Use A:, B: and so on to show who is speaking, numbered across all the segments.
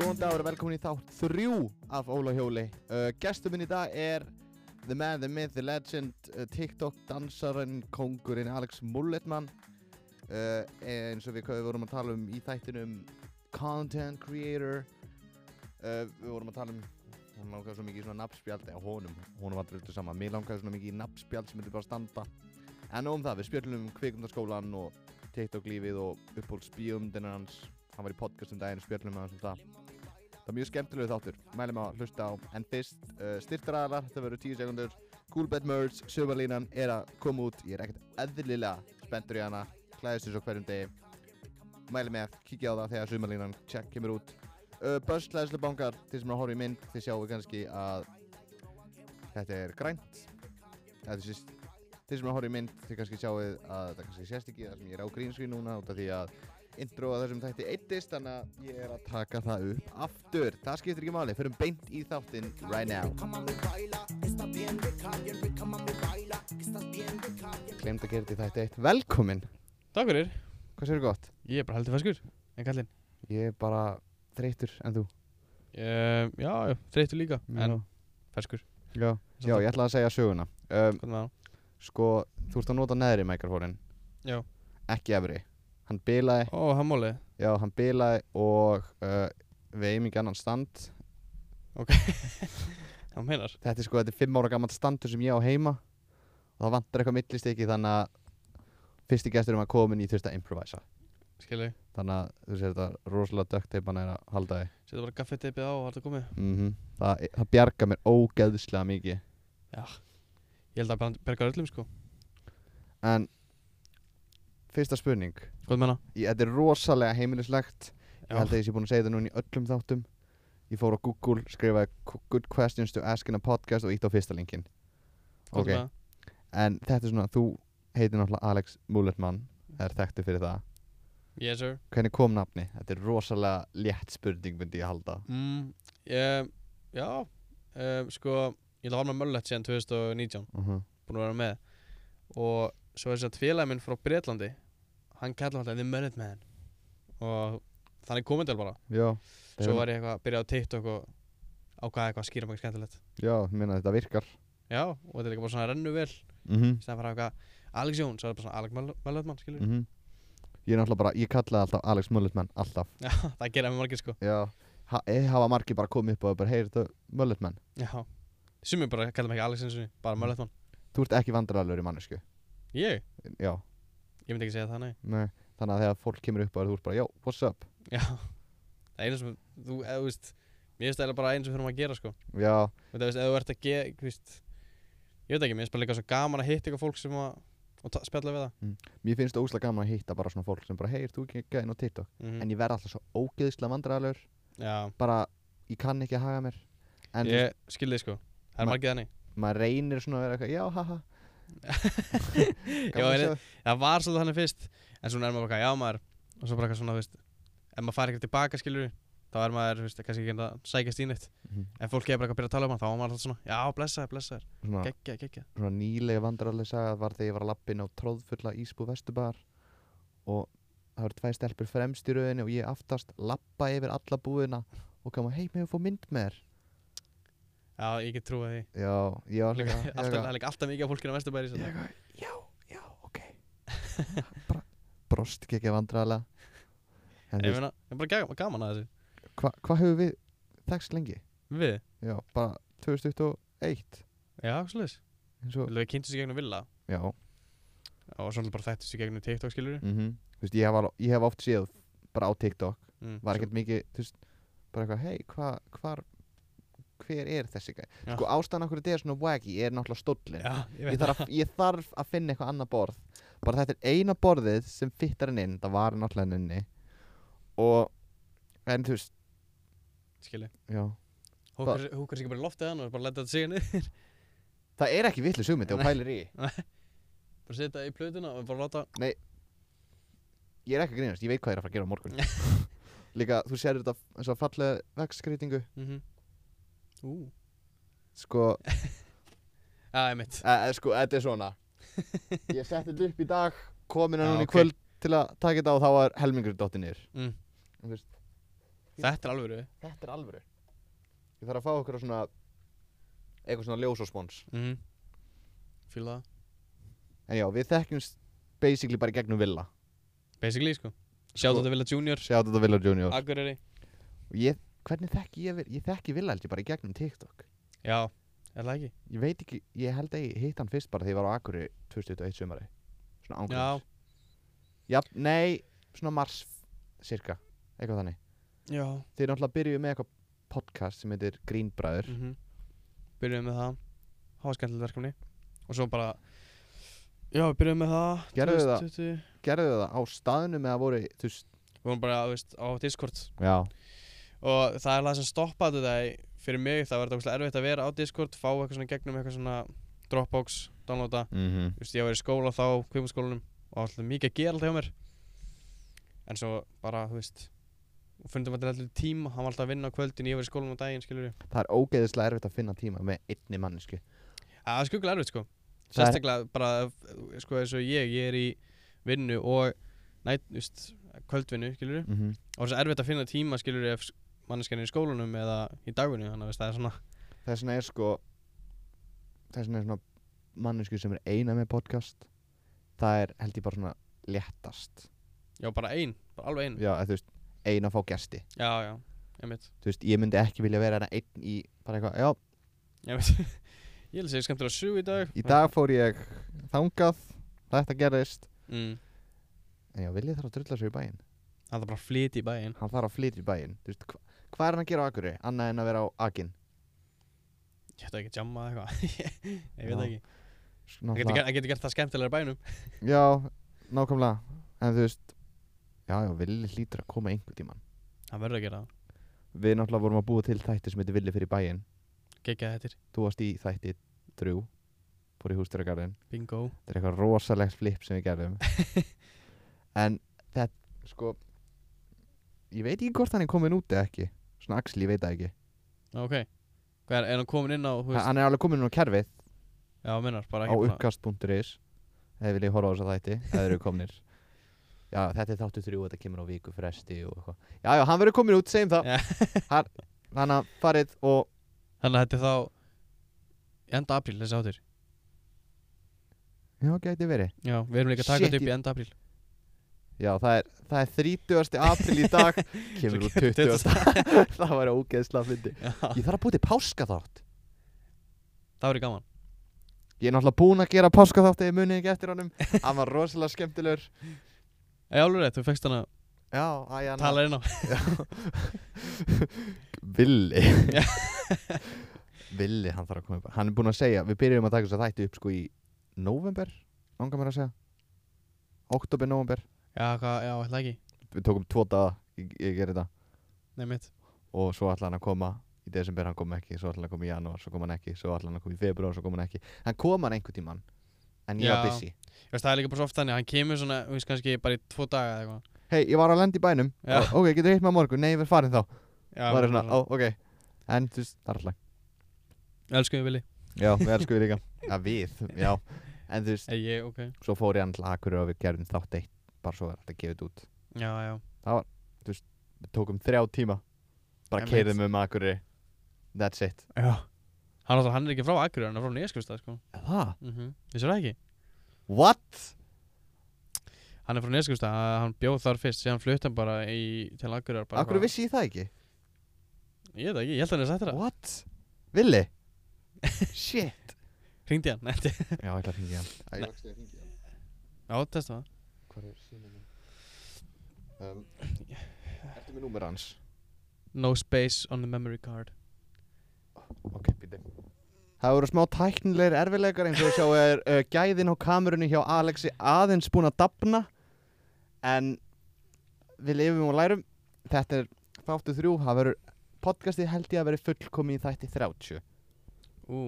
A: Góðan dagur og velkomin í þátt þrjú af Óla Hjóli uh, Gestur minn í dag er The man, the myth, the legend uh, TikTok dansarinn, kongurinn Alex Mulletmann uh, eins og við, við vorum að tala um í þættinum Content Creator uh, Við vorum að tala um hún langaði svo mikið í svona nafnspjald eða honum, honum var dröldu sama mér langaði svona mikið í nafnspjald sem myndi bara standa en nóg um það, við spjöllum um kvikundaskólan og TikTok lífið og uppbólsbíumdinn hans hann var í podcast um daginn, spjöllum með hans um það Það er mjög skemmtilegu þáttur, mælum að hlusta á En fyrst, uh, styrtaraðalar, þetta verður 10 sekundur Coolbet Merge, sömarlínan er að koma út Ég er ekkert eðlilega spenntur í hana Klæðist þessu á hverjum degi Mælum með, kíkja á það þegar sömarlínan Check kemur út uh, Börs klæðislu bankar, þeir sem er að horfa í mynd Þeir sjáu kannski að Þetta er grænt Þetta er sýst Þeir sem er að horfa í mynd, þeir kannski sjáu að þetta kannski sést ekki Það sem ég er á grínskrín núna út af því að intro að þessum þætti eittist Þannig að ég er að taka það upp aftur Það skiptir ekki máli, förum beint í þáttinn right now
B: Cómo me baila, que estás bien de calle, Rick, cómo me baila, que estás bien de calle.
A: Glemt að gera þetta í þætti eitt Velkomin,
C: Takk fyrir,
A: hvað séu gott?
C: ég er bara heldur feskur En kallinn
A: Ég er bara þreytur en þú
C: uh, Já, já, þreytur líka En feskur
A: Já, Já ég ætla að segja söguna um,
C: Hvernig var það?
A: Sko, þú ert að nota neðri mikrofónin
C: Já
A: Ekki efri Hann bilaði
C: Ó, hann málið
A: Já, hann bilaði og uh, við eigum ekki annan stand
C: Hann meinar
A: Þetta er sko, þetta er fimm ára gammal standur sem ég á heima og það vantar eitthvað millistiki þannig að fyrsti gesturum að komin í þurfti að improvisa
C: Skilji
A: þannig að þú sér þetta rosalega dökkteipan er að halda þig
C: Setja bara gaffetipið á og hartu komið
A: mm það, það bjarga mér ógeðslega mikið
C: Ég held að hann bergar öllum sko
A: en fyrsta spurning
C: Hvað meina?
A: ég, þetta er rosalega heimilislegt ég
C: Já.
A: held að ég sé búin að segja þetta núna í öllum þáttum ég fór á Google, skrifaði good questions to ask in a podcast og ítt á fyrsta linkin
C: Hvað
A: Ok. en þetta er svona, þú heitir náttúrulega Alex Mullermann það er þekktu fyrir það
C: Yes sir
A: hvernig kom nafni? Þetta er rosalega létt spurning myndi ég halda
C: mm, ég, Já um, Sko, ég var með Möllett síðan 2019
A: uh -huh.
C: Búin að vera með Og svo er þess að félagi minn frá Bretlandi Hann kallar alltaf The Mullet Man Og þannig komið til bara
A: Já,
C: Svo var ég eitthvað að byrja á TikTok og ákvaða eitthvað að skýra mjög skemmtilegt.
A: Já, ég meina þetta virkar
C: Já, og þetta er líka bara svona rennu vel. Í
A: mm -hmm.
C: stæðan fyrir eitthvað Alex Jón, svo er þetta bara svona Alex Möll- Möllöðmann, skilur.
A: Mhm. Ég er náttúrulega bara, ég kallaði alltaf Alex Mulletmann, alltaf
C: Já, það gera mér margir sko.
A: Já ha, eh, Hafa margir bara komið upp og bara, heyr þetta Mulletmann
C: Já. Mm. Sumir bara kallar mig ekki Alex eins og bara Möllöðmann.
A: Þú ert ekki vandraralur í mannesku
C: Ég?
A: Já,
C: Ég myndi ekki segja það, nei.
A: nei Þannig að þegar fólk kemur upp og þú ert bara, já, what's up
C: Já. Það er eina sem, þú, eða þú veist, mér finnst það eiginlega bara eins og fyrir maður að gera sko.
A: Já,
C: Þú veist, ef þú ert að gera, þú veist, ég veit ekki, mér finnst bara líka svo gaman að hitta eitthvað fólk sem að, og ta- spjalla við það.
A: mér finnst óslega gaman að hitta bara svona fólk sem bara, heyr, þú ekki gæðin á TikTok
C: Mhm.
A: En ég verð alltaf svo ógeðslega vandraralur
C: Já,
A: Bara, ég kann ekki að haga mér En þú
C: ég skil þig, sko. Það er
A: Ma-
C: margir þannig.
A: maður reynir svona að vera eitthvað, já, haha
C: Já,
A: Gaman að
C: en-
A: sjá þig.
C: það var svolítið þannig fyrst en svona er maður bara eitthvað, já maður og svo bara eitthvað svona, þú veist ef maður fari ekkert tilbaka skilur þá er maður, þú veist, kannski ekki að sækjast í neitt
A: Mhm.
C: ef fólk hefur bara eitthvað að byrja að tala um hann þá var maður alltaf svona, já, blessa þér, blessa þér
A: svona,
C: geggja, geggja
A: svona nýlega vandrarlega saga var þegar ég var að lappin á tróðfulla Ísbú Vestubar og það voru tvær stelpur fremst í rauðinni og ég aftast lappa yfir alla búðina og koma, hei, meðum fóð mynd með þér
C: já, ég get trúið því
A: já, ég var
C: Líka-
A: líka ég var
C: alltaf, það
A: eitthvað-
C: er líka alltaf mikið af fólkinu á Vesturbæri
A: ég
C: svona.
A: eitthvað, já, já, ok bara brost ekki ekki vandrarlega en
C: ég
A: þú veist,
C: meina, ég er bara gaman, gaman að þessu
A: hva- hvað hefur við þekst lengi?
C: við,
A: já, bara 2021
C: já, svolítið
A: eins og,
C: við kynntum sér gegnum Villa
A: já
C: og svona bara þættum sér gegnum TikTok skilur
A: mm þú veist, ég hef, alveg- ég hef oft séð bara á TikTok
C: mm.
A: var ekkert mikið, þú veist, bara eitthvað, hei, hvað, hvar, hver er þessi gæði?
C: Já.
A: Sko ástæðan okkur þetta er svona waggy, er náttúrulega stóllin.
C: já, ég
A: Ég
C: veit
A: þarf, að, ég þarf að finna eitthvað annað borð. Bara þetta er eina borðið sem fittar hann inn, það var náttúrulega hann inni. Og, en þú veist,
C: skilur
A: já.
C: húkar húkar sér ekki bara í loftið hann og bara leta þetta sig niður
A: Það er ekki vitlu sugmyndi og
C: Nei.
A: pælir í.
C: bara setja í plötuna og bara láta
A: Ég er ekki að grínast, ég veit hvað ég er að fara að gera á morgun. Líka, þú sér þetta eins og fallega vegskreitingu,
C: mhm ú
A: sko,
C: Já, ég mitt
A: Eh, eh, sko, þetta er svona Ég setti þetta upp í dag Komin er
C: Já,
A: hún í
C: ok.
A: kvöld til að taka þetta og þá var helmingur dottir niður
C: Mm.
A: Þú veist,
C: Þetta er alvöru
A: Þetta er alvöru Ég þarf að fá okkur á svona eitthvað svona ljósospons
C: mm. Fýla það
A: En já, við þekkjumst basically bara í gegnum Villa
C: Basically sko Sjáðu þetta Villa Junior
A: Sjáðu þetta Villa Junior
C: Akureyri
A: Og ég, hvernig þekki ég, Vill- ég þekki Villa held ég bara í gegnum TikTok
C: Já, er það ekki?
A: Ég veit ekki, ég held að ég hitt hann fyrst bara þegar ég var á Akuri 2021 sumari Svona ángríns Já, nei, svona mars cirka, eitthvað þannig
C: Já
A: Þeir náttúrulega byrjuðu með eitthvað podcast sem heitir Grínbræður
C: mm Byrjuðum með það Háa skemmtilegt verkefni Og svo bara Já, við byrjuðum með það
A: Gerðu þið það?
C: 2020.
A: Gerðu það á staðnum eða voru, þú veist
C: Við vorum bara, þú veist, á Discord
A: Já,
C: og það er það sem stoppaði það í- fyrir mig það var þetta ógeðslega erfitt að vera á Discord fá eitthvað svona í gegnum eitthvað svona Dropbox, downloada
A: mhm
C: Þú veist, ég var í skóla þá, kvimaskólanum og alltaf mikið að gera alltaf hjá mér en svo bara, þú veist fundum að þetta alltaf tíma, hann var alltaf að vinna á kvöldin ég var í skólanum á daginn, skilur ég
A: Það er ógeðislega erfitt að finna tíma með einni mannesku
C: það er skuggulega erfitt, sko
A: Það er-
C: sérstaklega bara, eh, sko, eins og ég ég er í vinnu og nætt, þú veist, kvöldvinnu, skilur
A: mm -hmm.
C: og það er erfitt að finna tíma, skilur ef manneskjarnir í skólanum eða í dagvinnu þannig að veist, það er svona
A: Þess vegna er sko Þess vegna er svona mannesku sem er eina með podcast Það er held ég bara svona léttast
C: Já, bara ein, bara alveg ein
A: Já, eða þú veist, eina að fá gesti
C: Já, já, einmitt,
A: Þú veist, ég myndi ekki vilja vera hérna einn í bara eitthvað, já,
C: einmitt. Ég vil segja skemmtilega sjú í dag
A: í dag fór ég þangað Þetta gerðist
C: mm.
A: En já, Villi þarf að drulla sér í bæinn
C: Það er bara að flytja í bæinn
A: Hann þarf að flytja í bæinn Þú veist, hva, hvað er hann að gera á Akureyri? Annað en að vera á Akin
C: Ég ætla ekki að jamma eða eitthvað Ég veit
A: Já,
C: ekki
A: Svona
C: Það getur gert, getur gert það skemmtilega í bænum
A: Já, nákvæmlega En þú veist Já, já, Villi hlýtur að koma einhvern tíman
C: Það verður að gera það
A: Við náttúrulega vorum að búa til þætti sem heitir Villi fyrir bæinn
C: Gekka þetta
A: Þú varst í þætti þrjú Fór í hústuragarðin
C: Bingo
A: Þetta er eitthvað rosalegt flip sem við gerðum En þetta, sko Ég veit ekki hvort hann er komin út eða ekki Svona Axel, ég veit það ekki
C: Ok Hvað er, er hann komin inn á, þú
A: ha,
C: veist
A: Hann er alveg komin inn á kerfið
C: Já, minnar,
A: Á
C: bara ekki búin að-
A: uppkast.is Eða viljið horfa á þess að þætti Eða eru komnir Já, þetta er þáttu þrjú Þetta kemur á viku fresti og eitthvað Já, já, hann verður komin út, segjum það
C: Já.
A: Hann- Þannig að farið og
C: Þannig að þetta er þá í Enda apríl, þessi áttir
A: Já, gæti verið
C: Já, við erum líka að taka
A: Shit,
C: þetta upp
A: ég-
C: í enda apríl
A: Já, það er, það er 30. april í dag Kemur út 20. það var ógeðsla fyndi
C: Já,
A: Ég þarf að búið til páska þátt
C: Það verður gaman
A: Ég er náttúrulega búinn að gera páska þátt Eða munið ekki eftir honum Hann var rosalega skemmtilegur
C: Já, alveg rétt, þú fegst hann að
A: Já, æ, hann
C: tala hérna. inn á
A: Villi
C: Já.
A: Villi, hann þarf að koma upp Hann er búinn að segja, við byrjum að taka þess að þætti upp sko í November, ángar mér að segja Oktober, november
C: Já, hvað, já, ætla ekki
A: Við tókum tvo daga, ég, ég gerði þetta
C: Nei, mitt
A: Og svo ætla hann að koma í desember, hann kom ekki Svo ætla hann að koma í janúar, svo kom hann ekki Svo ætla hann að koma í februar, svo kom hann ekki Hann kom hann einhvern tímann En ég var
C: Já.
A: busy
C: Þú veist, það er líka bara svo oft þannig, hann kemur svona, þú veist, kannski bara í tvo daga eða eitthvað.
A: Hei, ég var að lenda í bænum
C: Já.
A: og, Ok, getur hitt með morgun, nei, ég verð farin þá
C: Já,
A: Það er svona, ó, ok En þú veist, það er alltaf
C: Elskum við Vili.
A: Já, við elskum við líka Já, við, já En þú veist,
C: Ei, ég, ok.
A: svo fór ég annars akkur og við gerðum þátt eitt Bara svo er alltaf gefið út
C: Já, já.
A: Við tókum þrjá tíma Bara
C: Einmitt.
A: keirðum um akkurri That's it
C: Já. Hann, náttúrulega- hann er ekki frá Akureyri, hann er frá Neskjöfstað, sko.
A: Það?
C: Mhm. Mm Vissur það ekki?
A: What?
C: Hann er frá Neskjöfstað, hann- hann bjóð þar fyrst, síðan flutt hann bara í, til Akureyri. Bara
A: Akkur
C: eitthvað-
A: vissi ég það ekki?
C: Ég veit það ekki, ég held að hann er sættir það.
A: What? Villi? Shit
C: Ringdi hann, netti.
A: Já, ég ætla að hringja hann
C: Nei. Já, testa það.
A: Hvað er síminn um, Ertu með númer hans?
C: No space on the memory card.
A: Ok, býti Það voru smá tæknilegir erfileikar eins og sjá er uh, gæðin á kamerunni hjá Alexi aðeins búin að dafna en við lifum og lærum þetta er þáttu þrjú það verður podcastið held ég að verði fullkomi í þætti 30
C: Ú,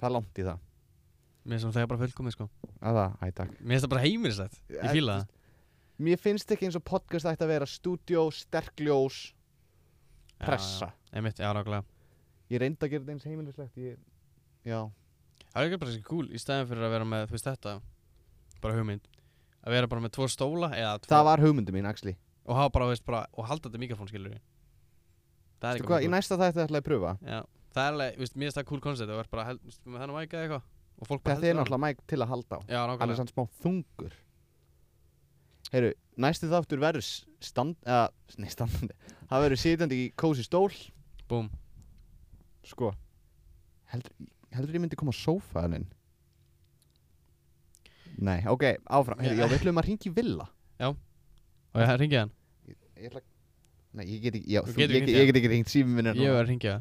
A: það er langt í það
C: mér finnst það bara fullkomið, sko.
A: að það, æ takk
C: Mér finnst það bara heimilislegt. Ég
A: En,
C: fíla það.
A: mér finnst ekki eins og podcast ætti að vera stúdjó, sterkljós,
C: Já,
A: pressa
C: já. Einmitt, já, nákvæmlega.
A: ég reyndi að gera þetta eins heimilislegt ég... já,
C: Það er ekki bara þessi cool í stæðan fyrir að vera með, þú veist þetta, bara hugmynd, að vera bara með tvo stóla eða tvo
A: það var hugmyndu mín, Axli
C: og hafa bara, þú veist, bara, og halda þetta mikrofón, skilur við. það er
A: Veistu
C: ekki
A: hvað, í
C: cool.
A: næsta þætti ætla ég að pröfa
C: Já, það er alveg, viðst, mér finnst það cool concept það var bara, held, viðst, með þennan væka eitthvað og fólk bara
A: Þetta er
C: heldur á honum.
A: náttúrulega mæk til að halda á
C: Já,
A: Hann er
C: nákvæmlega
A: sann smá þungur Heyru, næsti þáttur verður s- stand, eða, nei standandi Það verður sitjandi í kósi stól
C: Búm,
A: Sko Heldur, heldur ég myndi koma á sófaðaninn? Nei, ok, áfram Heyru,
C: Já.
A: Já, við ætlum að hringi Villa
C: og ég ringi hann
A: Ég ætla Nei, ég get ekki, já,
C: Þú
A: þú,
C: getur
A: ég,
C: ekki
A: get-
C: hringt í
A: ég get ekki hringt símum minn er
C: Ég
A: núna.
C: var að ringja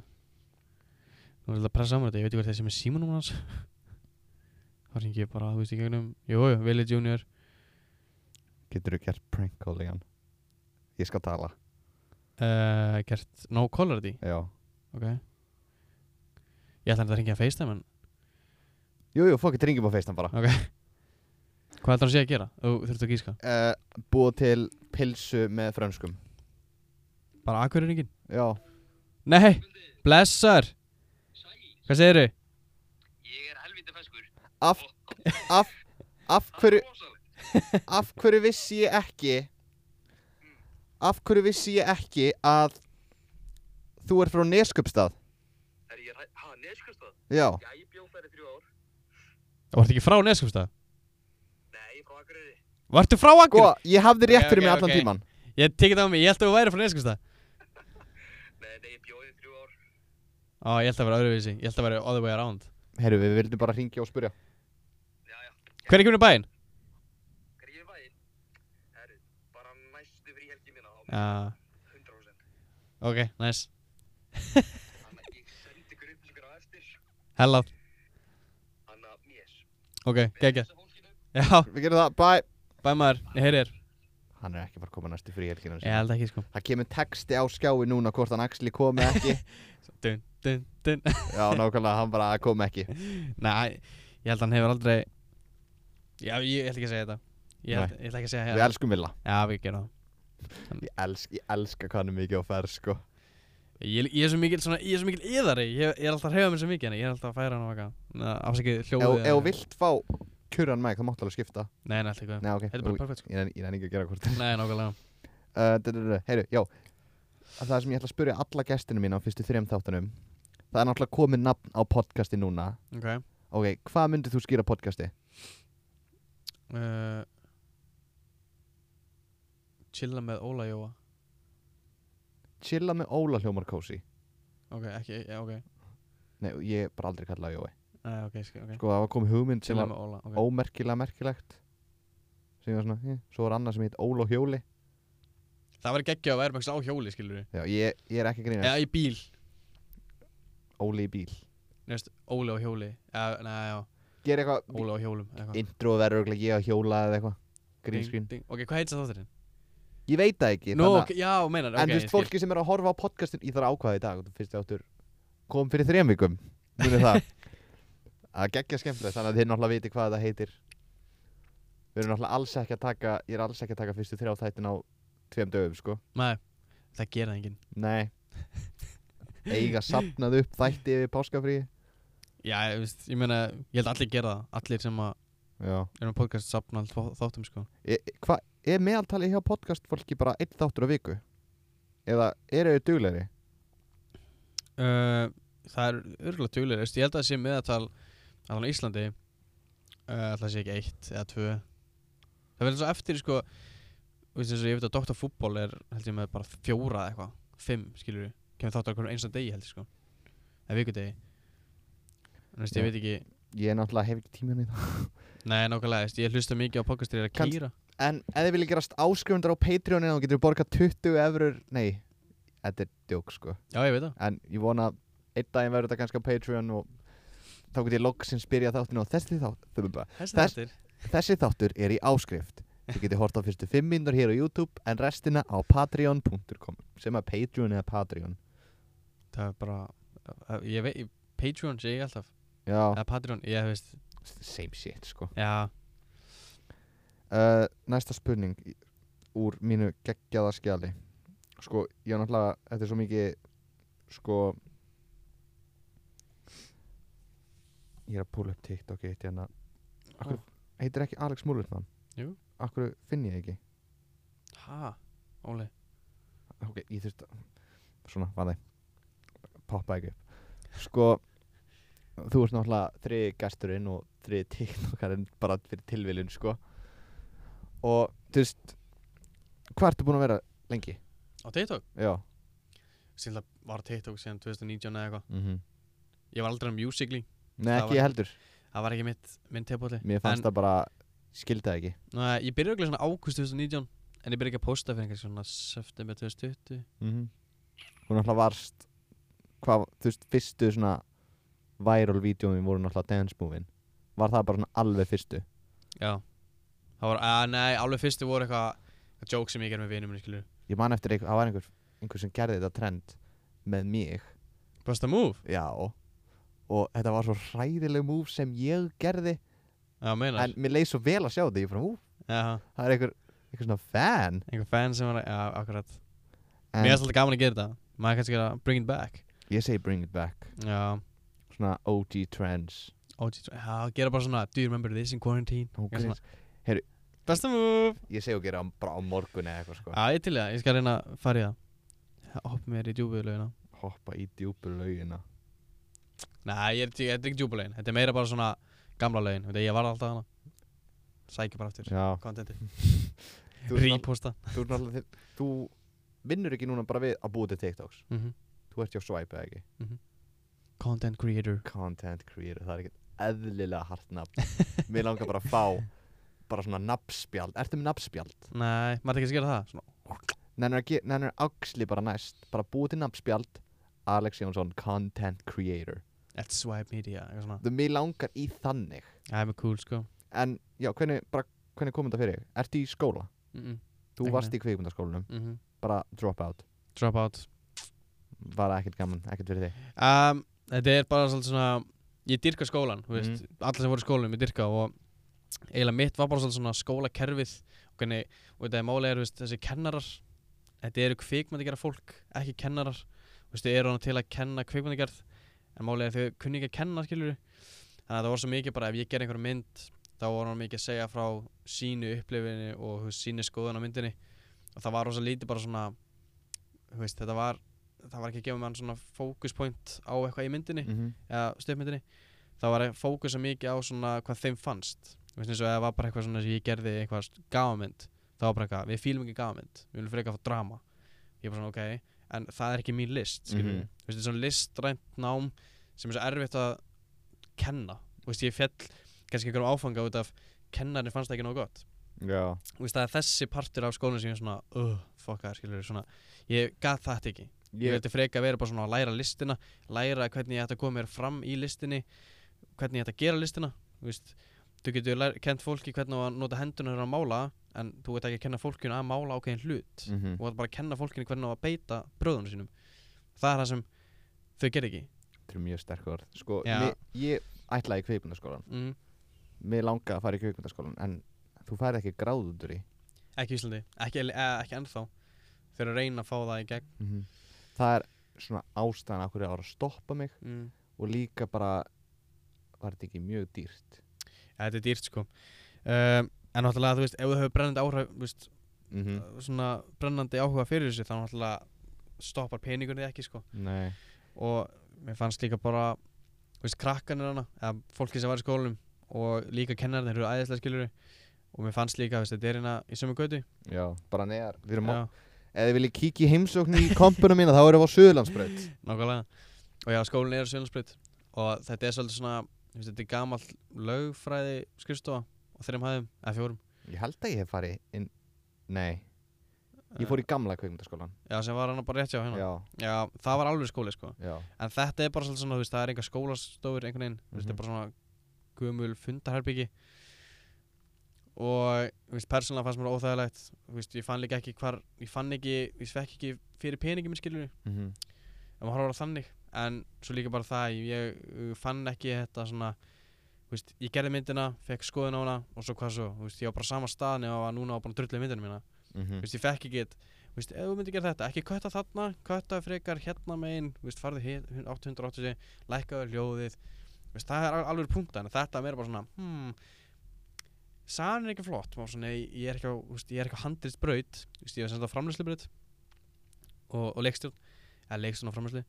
C: Nú er þetta að pressa á mér þetta, ég veit ekki hvað þessi með símanúmer hans Þá ringi ég bara, þú veist, í gegnum Jú, jú, Willi Junior
A: Getur þú gert prank call í hann? Ég skal tala
C: uh, Gert no caller því,
A: Já
C: ok Ég ætla að ringja að FaceTime en
A: Jú, jú, fokk, ringjum á FaceTime bara
C: Ok Hvað ætlar hann sé að gera? Þú þurftu að gíska
A: uh, Búa til pilsu með frönskum
C: Bara akkurir ringin
A: Já
C: Nei, blessar Hvað segirðu?
A: Af, af, af hverju Af hverju vissi ég ekki Af hverju vissi ég ekki að Þú ert frá Neskjöpstað
D: Það er ég ræ... Ha, Neskjöldstað?
A: Já
D: Já, ég bjóð þær í þrjú ár.
C: Þú ert ekki frá Neskjöfstað?
D: Nei, ég er frá Akureyri.
C: Vartu frá
A: Sko,
C: Akureyri?
A: ég hafði rétt fyrir
C: Ok,
A: mig
C: ok,
A: allan
C: ok.
A: tíman
C: Ég tekið það á mig, ég held að þú væri frá Neskjöfstað
D: Nei, nei, ég bjóð í þrjú ár.
C: Á, ég held að vera öðruvísi, ég held að vera other way around
A: Herru, við vildum bara ringja og spurja
D: Já, já.
C: Hver er kemur í bæinn?
D: Hver er ég í væginn? Herru, bara næstu frí helgi mína á
C: Já,
D: 100%.
C: Ah, ok, nice
D: Þannig að ég sendi ykkur upplýsingar á eftir.
C: Hella,
D: Þannig að, yes.
C: ok, geggja
D: Þessa fólkinu.
C: Já,
A: Við gerum það, bye
C: bæ maður, ég heyri þér
A: Hann er ekki bara að koma næstu frí helgina
C: Ég held ekki sko
A: Það kemur texti á skjái núna hvort hann axli komi ekki
C: Dun, dun, dun
A: Já, nákvæmlega, hann bara komi ekki
C: Nei, ég held að hann hefur aldrei Já, ég held ekki að segja þetta Ég held, ég held ekki að segja
A: Við
C: hérna
A: elskum Villa
C: Já, við gerum það
A: Ég, elsk, ég elska hvað hann er mikið á ferð, sko
C: Ég, ég er svo mikil, svona, ég er svo mikil yðari Ég, ég er alltaf að hreyfa mér svo mikið En ég er alltaf að færa hann á vaka Afsakið
A: Ef
C: hljóðið
A: ef þú vilt fá kurran mæk, þá máttu alveg skipta
C: Nei, nei, alltaf ekki
A: Nei, ok,
C: Þetta er
A: nú-
C: bara perfekt sko
A: ég nenni ég nenni ekki að gera hvort
C: Nei, nákvæmlega
A: uh, Heyru, já Að Það sem ég ætla að spyrja alla gestinu mína á fyrstu þrejum þáttunum Það er náttúrulega komið nafn á podcasti núna
C: Ok
A: Ok, hvað myndir þú skýra podcasti?
C: uh, Chilla með Óla Jóa
A: Chilla með Óla hljómar kósi
C: Ok, ekki, já, ok
A: Nei, ég er bara aldrei kallaði Jói
C: Nei, ok, sk- ok
A: Sko, það var komið hugmynd sem
C: Chilla
A: var
C: með Óla, ok
A: ómerkilega merkilegt sem ég var svona, eh, svo var annað sem heit Óla og Hjóli
C: Það var geggja að væri bara á hjóli, skilur við
A: Já, ég, ég er ekki að grínast
C: Eða í bíl
A: Óli í bíl
C: Nefnst, Óli á hjóli Eða, nei, já
A: Ger eitthvað,
C: Óli á hjólum eða eitthvað.
A: intro verður örugglega ég að hjóla eða eitthvað
C: Ding,
A: Green screen
C: ding. Ok, hvað heitir það þátturinn?
A: Ég veit það ekki
C: Nú,
A: þannig að-
C: ok, já, meinar
A: En
C: ok,
A: þú
C: ég
A: veist,
C: skil.
A: fólki sem er að horfa á podcastin Ég þarf að ákvaða í dag Þú fyrst áttur Kom fyrir þrejum vikum Munið það Að geggja skemmtilegt Þannig að þið náttúrulega viti hvað það heitir Við erum náttúrulega alls ekki að taka Ég er alls ekki að taka fyrstu þrjá þættin á Tveim dögum, sko
C: Nei, það gera það enginn
A: Nei Eiga sapnað upp þætti yfir páskafrí
C: Já, ég, veist, ég meina, ég held að allir gera það Allir sem að
A: Já
C: erum að podcast sapna allt þó- þáttum, sko
A: e, Hvað, er meðaltali hjá podcast fólki bara einn þáttur á viku? Eða eru þau duglegri?
C: uh, Það er örgulega duglega, veist, ég held að það sé meðatal Allan á Íslandi uh, Það sé ekki eitt eða tvö Það verður svo eftir, sko Veist þess að ég veit að Dr. Fútbol er, held ég með bara fjóra eða eitthvað Fimm, skilur við Kemur þáttur okkur einsta degi, held ég, sko Eða vikudegi En veist, ég
A: Já.
C: veit ekki
A: Ég náttúrulega hef ekki tíman í það
C: Nei, nákvæmlega, veist, ég hlusta mikið á podcast þegar ég er að
A: Kannst-
C: kýra
A: En ef þið viljið gerast áskrifundur á Patreonin þá getur við borgað 20 eurur Nei, þetta er djók sko
C: Já, ég veit það
A: En ég vona að einn daginn verður þetta kannski á Patreon og þá getur ég loksins byrjað þáttinu og þessi, þátt, þau bara,
C: Þessi
A: Þess-
C: þáttir
A: þessi þáttur er í áskrift Þið getur hort á fyrstu 5 minnur hér á YouTube en restina á patreon.com sem er Patreon eða Patreon
C: Það er bara, uh, ég veit, Patreon sé ég alltaf
A: Já,
C: Eða Patreon, ég veist,
A: same shit sko
C: já
A: uh, Næsta spurning í- úr mínu geggjaða skjali Sko, ég er náttúrulega, þetta er svo mikið Sko Ég er að púla upp TikTok eitt hérna Akkur, heitir ekki Alex Múlutmann?
C: Jú.
A: Akkur finn ég ekki
C: Ha, Óli
A: Ok, ég þurft að Svona, var það poppa ekki upp sko þú ert náttúrulega þri gesturinn og þri tiktokarinn bara fyrir tilviljun sko og þú veist hvað ertu búin að vera lengi?
C: Á TikTok?
A: Já
C: Sýnlega var TikTok síðan 2019 eða eitthvað
A: mm -hmm.
C: Ég var aldrei á Musical.ly
A: Nei
C: Mhm. Það
A: ekki
C: var-
A: ég heldur
C: Það var ekki mitt, minn tilbúli
A: Mér fannst það bara skildaði ekki
C: Næ, eh, ég byrja okkur svona águst 2019 En ég byrja ekki að posta fyrir einhvers svona september 2020
A: mm -hmm. Hún náttúrulega varst hvað, þú veist, fyrstu svona viral vídjóin voru náttúrulega dance move-in Var það bara svona alveg fyrstu?
C: Já Það var, að nei, alveg fyrstu voru eitthvað eitthvað Joke sem ég gerði með vinum minni, skilur
A: Ég man eftir, einhver, það var einhver, einhver sem gerði þetta trend með mig
C: Basta move
A: Já Og þetta var svo hræðileg move sem ég gerði
C: Já, meinar
A: En mér leið svo vel að sjá þetta Ég fann, ú,
C: Já,
A: það er einhver, einhver svona fan
C: einhver fan sem var, að- já, akkurat
A: En
C: Mér er alltaf gaman að gera þetta Maður kannski gera bring it back
A: ég segi bring it back
C: Já,
A: Svona OG trends
C: OG, já, gera bara svona Do you remember this in quarantine?
A: Hún
C: Eitthvað svona,
A: grins-
C: Besta move
A: Ég segi að gera hann bara á morgun eða eitthvað sko
C: Já, ég til í það, ég skal reyna að fara í það Hopp mér í djúbuðlaugina
A: Hoppa í djúpur laugina
C: Nei, ég er, ég, þetta er ekki djúbuðlaugin Þetta er meira bara svona gamla laugin Þetta ég var alltaf hana Sækja bara aftur
A: Já
C: Contenti
A: Þú ert náttúrulega-
C: Reposta
A: þú, ert náttúrulega- þú vinnur ekki núna bara við að búa til TikToks
C: mm -hmm.
A: Þú ert hjá Swipe eða ekki
C: Content creator
A: Content creator, það er ekkert eðlilega hart nafn Mér langar bara að fá bara svona nafnspjald, ertu með nafnspjald?
C: Nei, maður er ekki að gera það svona.
A: Nennir, ge- nennir axli bara næst bara búa til nafnspjald Alex Jónsson, content creator
C: At swipe media eitthvað svona.
A: Þú mér langar í þannig
C: Það er mjög cool sko
A: En já, hvernig, bara, hvernig kom þetta fyrir þig? Ertu í skóla?
C: mm -mm.
A: Þú
C: Ekki
A: varst í kvikmyndaskólanum,
C: Mm -hmm.
A: bara drop out
C: Drop out
A: Var ekkert gaman, ekkert fyrir þig
C: um, Þetta er bara svolítið svona Ég dyrka skólan, þú veist Alla sem voru í skólanum, ég dyrka og eiginlega mitt var bara svolítið svona skólakerfið og hvernig, og þetta er málega er, þú veist, þessi kennarar þetta eru kvikmyndi fólk ekki kennarar, þú veist, þau eru hann til að kenna kvikmyndi en málega er þau kunni ekki að kenna, skilur þannig að það var svo mikið bara, ef ég gerði einhverja mynd þá var hann mikið að segja frá sínu upplifinu og þú veist, sínu skoðun á myndinni og það var rosa lítið bara svona þú veist, þetta var það var ekki að gefa mann svona fókuspoint á eitthvað í myndinni
A: mm -hmm.
C: eða stöðmyndinni þá var að fókusa mikið á svona hvað þeim fannst Þú veist eins og ef það var bara eitthvað svona sem ég gerði eitthvað gafamynd þá var bara eitthvað, við fílum ekki gafamynd við viljum frekar fá drama ég er bara svona ok en það er ekki mín list mm
A: Mhm.
C: -hmm. Þú veist, þetta er svona listrænt nám sem er svo erfitt að kenna Þú veist, ég fjall kannski einhverjum áfanga út af kennarinn fannst það ekki nóg gott
A: Já,
C: Þú veist, það er þessi partur af skólanum sem ég er svona uh, fuck það, skilur svona ég gat þetta ekki ég
A: ég,
C: vildi freka að vera bara svona að læra listina læra hvernig ég ætti að koma mér fram í listinni hvernig ég ætti að gera listina þú veist, þú getur lær, kent fólki hvernig á að nota hendunar að mála en þú veit ekki að kenna fólkinu að mála ákveðin hlut
A: mm
C: þú veit bara að kenna fólkinu hvernig á að beita bröðunum sínum það er það sem þau ger ekki
A: Þetta eru mjög sterk orð Sko,
C: Já.
A: mér, ég ætlaði í kveikmyndaskólan
C: mm.
A: Mér langaði að fara í kveikmyndaskólan En þú færði ekki gráð út úr í
C: ekki í Íslandi, ekki, e, ekki ennþá þau eru að reyna að fá það í gegn
A: Mhm. Það er svona ástæðan af hverju það var að stoppa mig
C: mm.
A: Og líka bara Var þetta ekki mjög dýrt
C: ja, þetta er dýrt sko um, en náttúrulega þú veist, ef þú hefur brennandi áhrif þú veist,
A: mm
C: svona brennandi áhuga fyrir þessu þá náttúrulega stoppar peningunni ekki sko
A: Nei
C: og mér fannst líka bara þú veist, krakkanir hana eða fólki sem var í skólanum og líka kennarinn eru æðislega skilur og mér fannst líka, þú veist, þetta er hérna í sömu götu
A: Já, bara neðar Við erum á
C: Já,
A: Ef þið viljið kíkja í heimsókn í kompunum mína Þá erum við á Suðurlandsbraut
C: nákvæmlega og já, skólinn er sjölandsbrytt og þetta er svolítið svona, þú veist, þetta er gamall lögfræði skrifstofa og þreim hæðum, eða fjórum
A: Ég held að ég hef farið inn Nei Ég fór í gamla kveikmyndaskólan
C: já, sem var hana bara rétt hjá hérna já.
A: Já,
C: það var alveg skóli, sko
A: já
C: en þetta er bara svolítið svona, þú veist, það er einhver skólastofur einhvern veginn, þú veist, þetta er bara svona gömul fundarherbyggi og, þú veist, persónulega fannst mér óþægilegt, þú veist, ég fann líka ekki hvar, ég fann ekki, ég fekk ekki fyrir peningi minn skilur,
A: mm
C: ef maður horfður á þannig en svo líka bara það, ég, ég fann ekki þetta svona, þú veist, ég gerði myndina fekk skoðun á hana og svo hvað svo þú veist, ég var bara á sama staðan og var núna og búin að drulla í myndina mína
A: Mhm.
C: þú veist, ég fekk ekki eitt, þú veist, ef þú myndir gera þetta ekki kötta þarna, kötta frekar hérna megin þú veist, farðu hér, 880 lækkaðu hljóðið þú veist, það er al- alveg punktan, þetta er meira bara svona hmm, sagan er ekki flott maður svona, ég ég er ekki á, þú veist, ég er ekki á handrið braut, þú veist, ég er sem þetta framlýslu braut og, og leikstjórn eða leikstjórn og framlýslu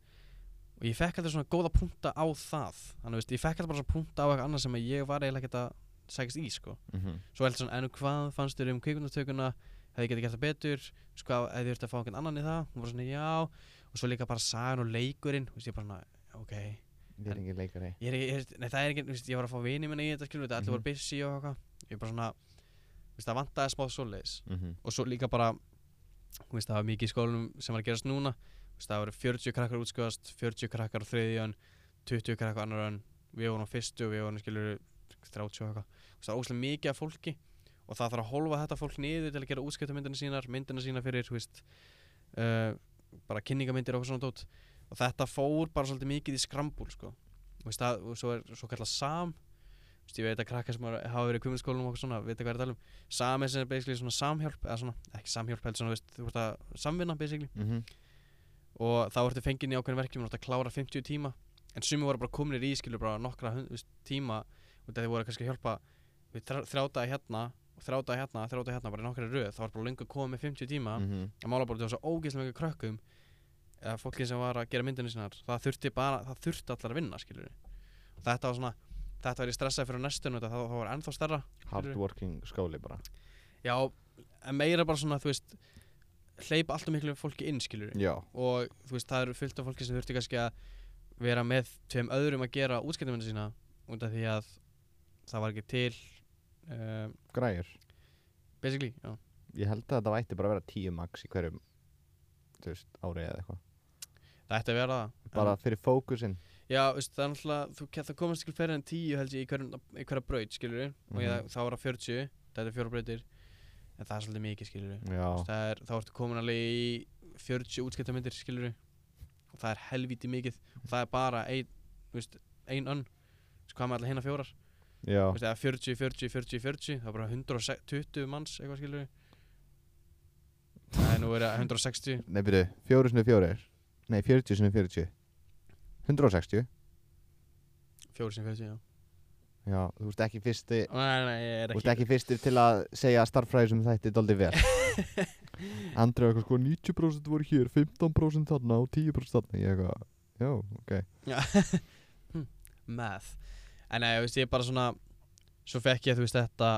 C: og ég fekk alltaf svona góða punta á það þannig veist, ég fekk alltaf bara svona punta á eitthvað annað sem að ég var eiginlega ekkert að sækast í sko.
A: Mhm.
C: svo heldur svona, en hvað fannst þér um kvikundartökuna hefði getið gert það betur sko, hvað, hefði þurft að fá einhvern annan í það hún var svona, já, og svo líka bara sagan og leikurinn þú veist, ég bara svona, ok ég
A: Við erum ekki leikari
C: er ekki, ég, nei, það er ekki, þú veist, ég var að fá vini minna í þetta skilur, þetta, allir
A: Mhm.
C: voru busy og eitthvað ég bara svona, þú veist, það vantaði smá svoleiðis
A: Mhm.
C: og svo líka bara þú veist, það var mikið í skólanum sem var að gerast núna Þú veist, það voru 40 krakkar útskjóðast 40 krakkar á þriðjön 20 krakkar á annar ön við vorum á fyrstu og við vorum skilur 30 og eitthvað Þú veist, það var óslega mikið af fólki og það þarf að holfa þetta fólk niður til að gera útskiptamyndina sínar myndina sína fyrir þú veist, uh, bara kynningamyndir og eitthvað svona dót og þetta fór bara svolítið mikið í skrambúl sko. Þú veist, það, og svo er svo kallað sam Þú veist, ég veit að krakkar sem eru- hafa verið í kvimundskólanum og eitthvað svona, veit hvað ég er að tala um Sam er sem er basically svona samhjálp eða svona, ekki samhjálp, heldur svona, veist, þú ert að samvinna basically
A: Mhm.
C: og þá ertu fenginn í ákveðin verkjum og ert að klára 50 tíma en sumi voru bara komnir í skilur bara nokkra hund, veist, tíma og þeir voru kannski að hjálpa við þrjátaði hérna og þrjátaði hérna, þrjátaði hérna bara í nokkra röð þá var bara lengur komið með 50 tíma
A: Mhm.
C: að mála bara til þessu ógeðslega mjög krökkum eða fólki sem var að gera myndinu sinnar það þurfti bara, það þurfti allar að vinna skilur þetta var svona, þetta var ég stressaði fyrir næstunum þetta, það, það var ennþá stærra
A: Hardworking skóli bara
C: Já, en meira bara svona, þú veist hleypa alltaf miklu fólki inn, skilur
A: Já
C: og þú veist, það eru fullt af fólki sem þurfti kannski að vera með tveim öðrum að gera útskiptumina sína út af því að það var ekki til um,
A: Græjur
C: basically, já
A: Ég held að þetta vætti bara að vera tíu max í hverjum Þú veist, ári eða eitthvað
C: það ætti að vera það en-
A: Bara fyrir fókusinn
C: Já, þú veist, það er náttúrulega, þú ke- það komast ekki fleiri en tíu held ég í, hverjum, í hverja braut, skilur og ég,
A: Mhm.
C: þá var það 40, þetta er fjóra brautir en það er svolítið mikið, skilur
A: Já
C: Þú veist, það er, þá ertu komin alveg í 40 útskiptamyndir skilur og það er helvíti mikið og það er bara ein, þú veist, ein önn Þú veist, hvað með allir hinna fjórar
A: Já
C: Þú veist, eða 40, 40, 40, 40 það er bara 120 manns eitthvað skilur það er nú verið að 160
A: Nei, byrju, fjóru sinni fjórir Nei, 40 sinni 40 160
C: fjóri sem 40, já
A: Já, þú veist ekki fyrsti
C: nei, nei, ég er
A: Þú
C: ekki,
A: veist ekki fyrstir til að segja að starffræði sem þetta er doldið vel Andri var eitthvað sko 90% voru hér, 15% þarna og 10% þarna Ég eitthvað, já, ok
C: math en nei, þú veist, ég er bara svona svo fekk ég, þú veist, þetta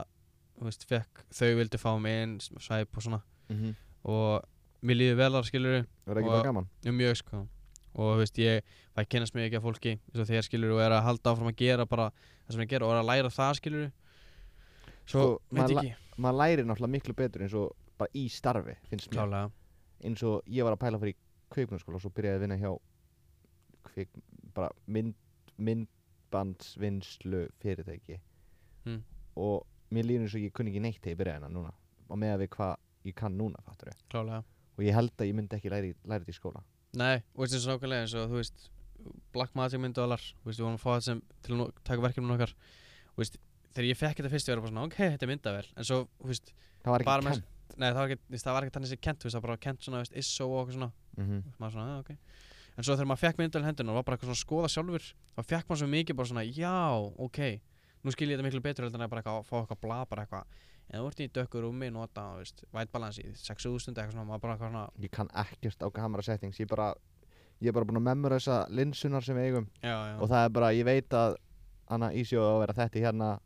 C: þú veist, fekk, þau vildi fá mig inn svæp og svona
A: mm -hmm.
C: og mér líður vel þar skilur
A: Var ekki
C: Og-
A: bara gaman?
C: Já, mjög sko og þú veist ég fæ að kynast mjög ekki af fólki eins og þér skilur og er að halda áfram að gera bara það sem ég gera og er að læra það skilur svo
A: Sko,
C: veit
A: maður
C: ekki
A: Maður læri náttúrulega miklu betur eins og bara í starfi, finnst mér
C: klálega
A: Eins og ég var að pæla fyrir í kvikmjöndskóla og svo byrjaði ég að vinna hjá kvik, bara mynd, myndbandsvinnslu fyrirtæki
C: Mm.
A: Og mér líður eins og ég kunni ekki neitt þegar ég byrjaði hennar núna Og með að við hvað ég kann núna, fattur
C: klálega
A: og ég held að ég myndi ekki læri, læri þetta í skóla
C: nei og veist eins og nákvæmlega eins og þú veist Black Magic myndaðalar þú veist við vorum að fá þetta sem til að no- taka verkefnum okkar þú veist þegar ég fekk þetta fyrst ég var bara svona ok þetta er myndavel en svo þú veist
A: það var
C: bara
A: ekki
C: með
A: kennt
C: nei það var ekki þú veist, það var ekki þannig sem kent þú veist það var bara kent svona þú veist ISO og okkur svona
A: mm -hmm.
C: maður svona, "Ah, ok en svo þegar maður fekk myndal hendur og var bara eitthvað svona að skoða sjálfur þá fekk maður svo mikið bara svona, já, ok nú skil ég þetta miklu betur heldur en að bara eitthvað, fá eitthvað blað bara eitthvað en þú ert í dökku rúmi, nota, þú veist, white balance í 6000 eitthvað svona, maður bara eitthvað svona
A: ég kann ekkert á kamera settings ég, bara, ég er bara búin að memorisa linsunar sem við eigum
C: já, já,
A: og það er bara, ég veit að Anna Ísjó á að vera þetta hérna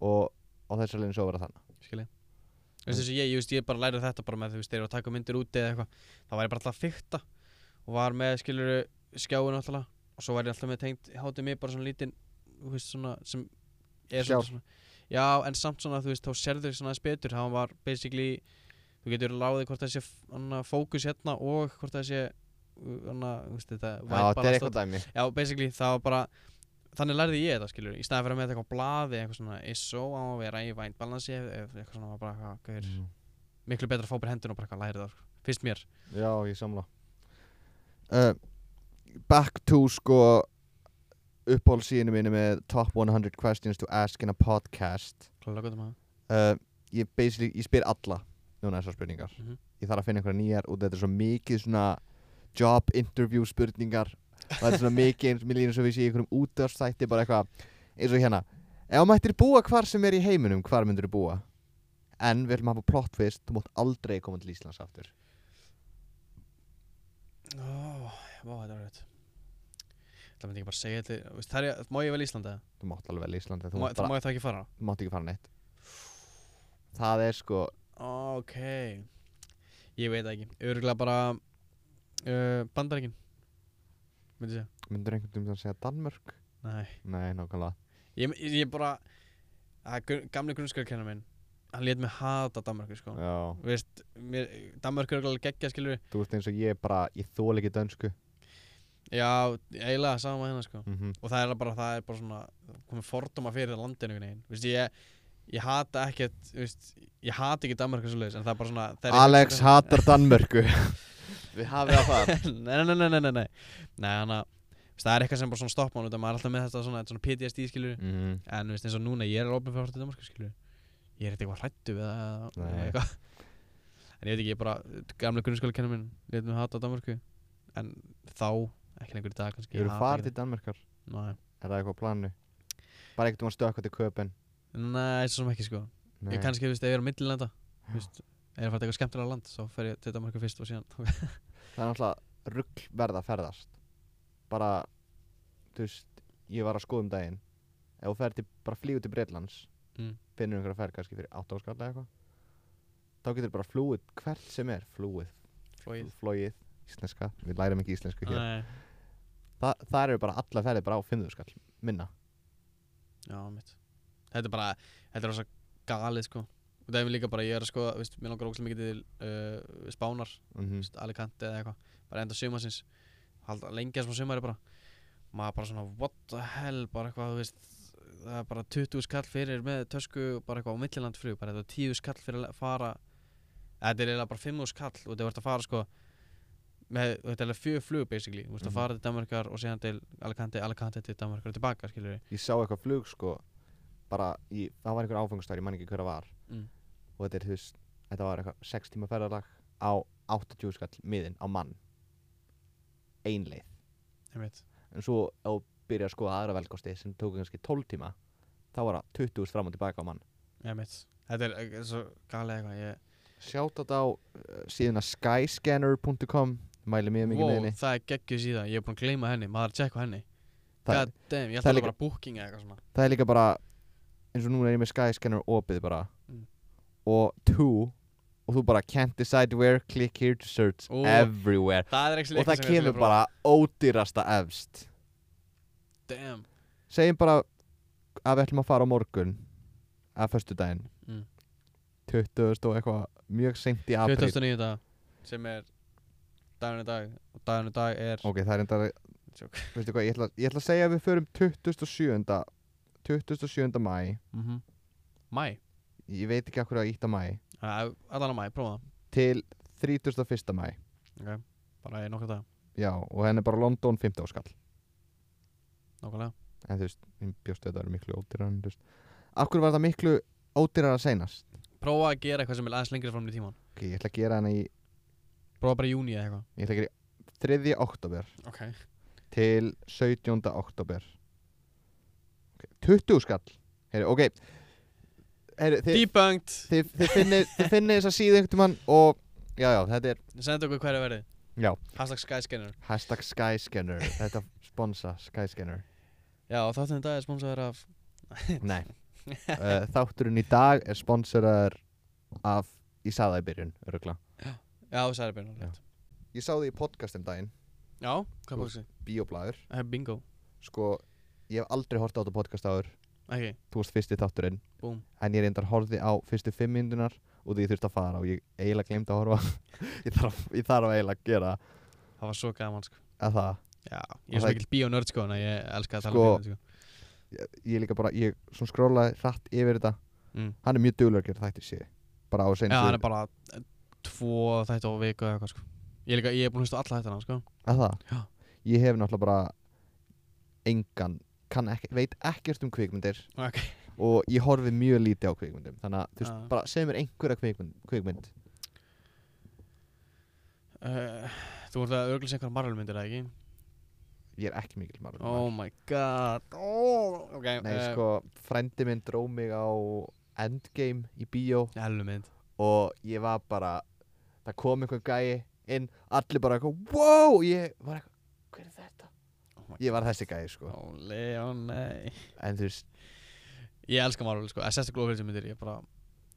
A: og, og þessar linsu á að vera þannig
C: skil ég þú veist þessu ég, ég veist, ég bara lærið þetta bara með þú veist, þegar ég var að taka myndir úti eða eitthvað þá var ég bara alltaf að fykta og var með, skilur, skjáin alltaf og svo var ég alltaf með tengt, hátið mig bara svona lítinn, þú veist, svona, sem er
A: Skjár.
C: svona, svona, já, en samt svona, þú veist, þá sérðu svona aðeins betur, hann var basically, þú getur ráðið hvort það sé f- annað fókus hérna og hvort það sé, annað, þú veist, þetta
A: Já, þetta er
C: white
A: eitthvað
C: balance
A: dæmi
C: Já, basically það var bara Þannig lærði ég þetta skilur Í staðan fyrir að með eitthvað á blaði Eitthvað svona ISO á að vera í vænt balansi Eitthvað svona var bara eitthvað gaur,
A: Mm.
C: Miklu betra að fá bara hendun og bara eitthvað læri það sko. Fyrst mér
A: Já, ég samla uh, Back to sko uppáhaldsíðinu mínu með top 100 questions to ask in a podcast
C: Klálega gott um það
A: uh, ég, basically- ég spyr alla núna þessar spurningar
C: Mhm.
A: ég þarf að finna einhverja nýjar og þetta er svo mikið svona job interview spurningar og þetta er svona mikið eins mér líður eins og við séum í einhverjum útvarstætti bara eitthvað eins og hérna ef þú mættir búa hvar sem er í heiminum hvar myndir þú búa en við ætlum að hafa plot twist þú mátt aldrei koma til Íslands aftur
C: Ó, vá, þetta var rétt Það myndi ekki bara segja til, veist, það er, má ég vel Íslanda?
A: Þú mátt alveg vel í Íslandi, þú
C: Má,
A: mátt,
C: það
A: bara,
C: má ég það ekki fara?
A: þú mátt ekki fara neitt Það er sko,
C: Ok Ég veit það ekki, örgulega bara uh, Bandaríkin Myndi ég segja
A: myndur einhvern veginn að segja Danmörk?
C: Nei,
A: Nei, nákvæmlega
C: ég, ég, ég bara að, grun- Gamli grunnskjörkennar minn Hann lét mig hata Danmarku sko
A: Já,
C: Veist, mér, Danmarku er örgulega geggja skilur
A: þú veist eins og ég bara, ég þól ekki dönsku
C: Já, eiginlega sama hérna sko
A: mm -hmm.
C: Og það er bara, það er bara svona Komið fordóma fyrir landinu einhvern veginn Veist, ég Ég hata ekkert, veist, ég hata ekki Danmarku svo leiðis En það er bara svona þegar ég
A: Alex
C: hugsa-
A: hatar Danmörku Við hafið það þar
C: nei, nei, nei, nei, nei, nei Nei, hann að veist, Það er eitthvað sem bara svona stopp mann út af maður er alltaf með þetta svona, þetta svona PTSD skilur
A: mm.
C: En þú veist eins og núna, ég er alveg opið fyrir hortið Danmarku skilur Ég er eitthvað hrættu við það eða-
A: Nei.
C: eða eitthvað En ég veit ekki, ég bara, gamlega grunnskóla kennum minn Leit mig hata Danmarku En þá, ekki lengur í dag kannski
A: Ég eru farið til Danmörkar
C: Nei,
A: Er það eitthvað á planinu? Bara ekkert um að stökka til köpen
C: nei, svo sem ekki sko
A: Nei.
C: Ég kannski, þú veist, ef ég er á millilanda Þú veist, ef ég er að fara til eitthvað skemmtilega land Svo fer ég til Danmarku fyrst og síðan
A: Það er náttúrulega rugg verða að ferðast Bara, þú veist, ég var að skoða um daginn Ef þú ferð til, bara flýgur til Breitlands
C: Mm.
A: Finnur einhverja ferð kannski fyrir 8 áskall eða eitthvað Þá getur bara flúið hvert sem er Flúið,
C: Flóið
A: flóið, íslenska Við lærum ekki íslensku hér
C: Nei,
A: Þa, Það eru bara alla ferðir bara á 5 skall Minna
C: Já, mitt Þetta er bara, þetta er rosa galið sko Og það er mér líka bara, ég er að skoða, veist, mér langar ógstlega mikið til uh, Spánar,
A: mm
C: mm. veist, Alicante eða eitthvað Bara enda sumarsins Halda lengja sem sumari bara Maður bara svona, what the hell, bara eitthvað, þú veist Það er bara 20 skall fyrir með tösku og Bara eitthvað á millilandflug, bara þetta er 10 skall fyrir að fara Þetta er eiginlega bara 5 skall og þetta er verið að fara sko Með, þetta er alveg fjögur flug basically Þú veist
A: Mhm.
C: að fara til Danmarkar og síðan til Alicante, Alicante til Danmarkar og tilbaka skilur
A: ég sá eitthvað flug sko bara, í, það var einhver áfengastar, ég man ekki hver að var
C: Mm.
A: og þetta er þú veist þetta var eitthvað 6 tíma ferðarlag á 80 skall miðin á mann einleið
C: ég veit
A: en svo ef þú byrja að skoða aðra velkosti sem tók kannski 12 tíma þá var það 20 þúsund fram og tilbaka á mann
C: Ég mitt Þetta er, er svo galið eitthvað ég...
A: sjátt þetta á uh, síðuna skyscanner.com mæli mjög mikið
C: Wow,
A: með henni
C: það er geggjuð síðan Ég er búinn að gleyma henni Maður er að checka henni
A: það,
C: God damn, ég
A: það er
C: ætla
A: líka-
C: bara booking eða eitthvað svona
A: það er líka bara eins og núna er ég með Skyscanner opið bara
C: Mm.
A: og two og þú bara can't decide where, click here to search
C: Ó.
A: everywhere
C: Það Oh. er ekki
A: og það kemur bara ódýrasta efst
C: Damn
A: segjum bara að við ætlum að fara á morgun að föstudaginn
C: Mm.
A: 20. og eitthvað mjög seint í apríl
C: 29. dag Sem er Dagurinn í dag Og dagurinn í dag er
A: ok, það er enda
C: Joke.
A: veistu hvað, ég ætla, ég ætla að segja að við förum 27. 27. mæ
C: mm -hmm. Mæ
A: ég veit ekki akkur að ítta mæ
C: Allan á mæ, prófa
A: til 31. mæ
C: það Ok Bara í nokkra dag
A: Já, og henni er bara London 15 áskall
C: Nákvæmlega
A: En þú veist, ég bjóst við að það eru miklu ódýrar en þú veist Akkur var það miklu ódýrar að seinast
C: Prófa að gera eitthvað sem er aðeins lengri fram í tíman
A: Ok, ég ætla að gera hana í Ég
C: Prófa bara í júni eða eitthvað
A: ætla að gera í 3. oktober
C: Ok
A: til 17. oktober okay, 20 skall Heyri, ok Heyri, þið,
C: Debunked
A: þið, þið, finnið, þið finnið þess að síðu einhvern tímann og Já, já, þetta er
C: Senda okkur hverju verði
A: Já,
C: Hashtag Skyscanner
A: hashtag skyscanner Þetta sponsa skyscanner
C: Já, og þáttum í dag er sponsaður af
A: Nei uh, Þátturinn í dag er sponsorar af Ég sagði það í byrjun, örugla
C: Já, Særabjörn
A: Já. Ég sá því í podcast um daginn,
C: Já, hvað
A: Þú-
C: bóksið?
A: Bíoblæður
C: Það er bingo
A: Sko, ég hef aldrei hort á þetta podcast áður
C: Ekki,
A: Þú varst fyrsti þátturinn
C: búm
A: En ég reyndar horfði á fyrstu fimm mindunar Og því ég þurfti að fara og ég eiginlega glemt að horfa ég, þarf, ég þarf eiginlega að gera
C: Það var svo gaman sko
A: að það
C: Já,
A: Og
C: ég er svo
A: það-
C: mikill bíónörd sko Þannig að ég elska að tala
A: Sko-
C: um bíónörd sko
A: Ég, ég líka bara, ég svona skrólaði hratt yfir þetta
C: Mm.
A: Hann er mjög duglur að gera þætti sé Bara á
C: Já, hann
A: seinstu
C: er bara eh, Tvo þætti á viku eða eitthvað sko Ég er líka, ég er búin að hlusta á alla þetta hann sko
A: að það
C: Já.
A: Ég hef náttúrulega bara engan kann ekki, veit ekkert um kvikmyndir
C: Ok
A: og ég horfi mjög lítið á kvikmyndum þannig að þú veist,
C: Já.
A: bara segð mér einhverja kvikmynd, kvikmynd.
C: uh, Þú voru að örglisa einhverja marvelmyndir eða ekki?
A: ég er ekki um mikil marvel
C: Oh my god oh, Ok
A: Nei, sko, frendi minn dró mig á Endgame í bíó
C: Ellu mynd
A: og ég var bara það kom einhver gæi inn, allir bara eitthvað wow, ég var eitthvað, hver er þetta?
C: Oh
A: Ég var þessi gæði sko
C: Óli, ó oh, nei
A: En þú veist,
C: Ég elska Marvel sko, að sérstu glóðfélsum myndir Ég bara,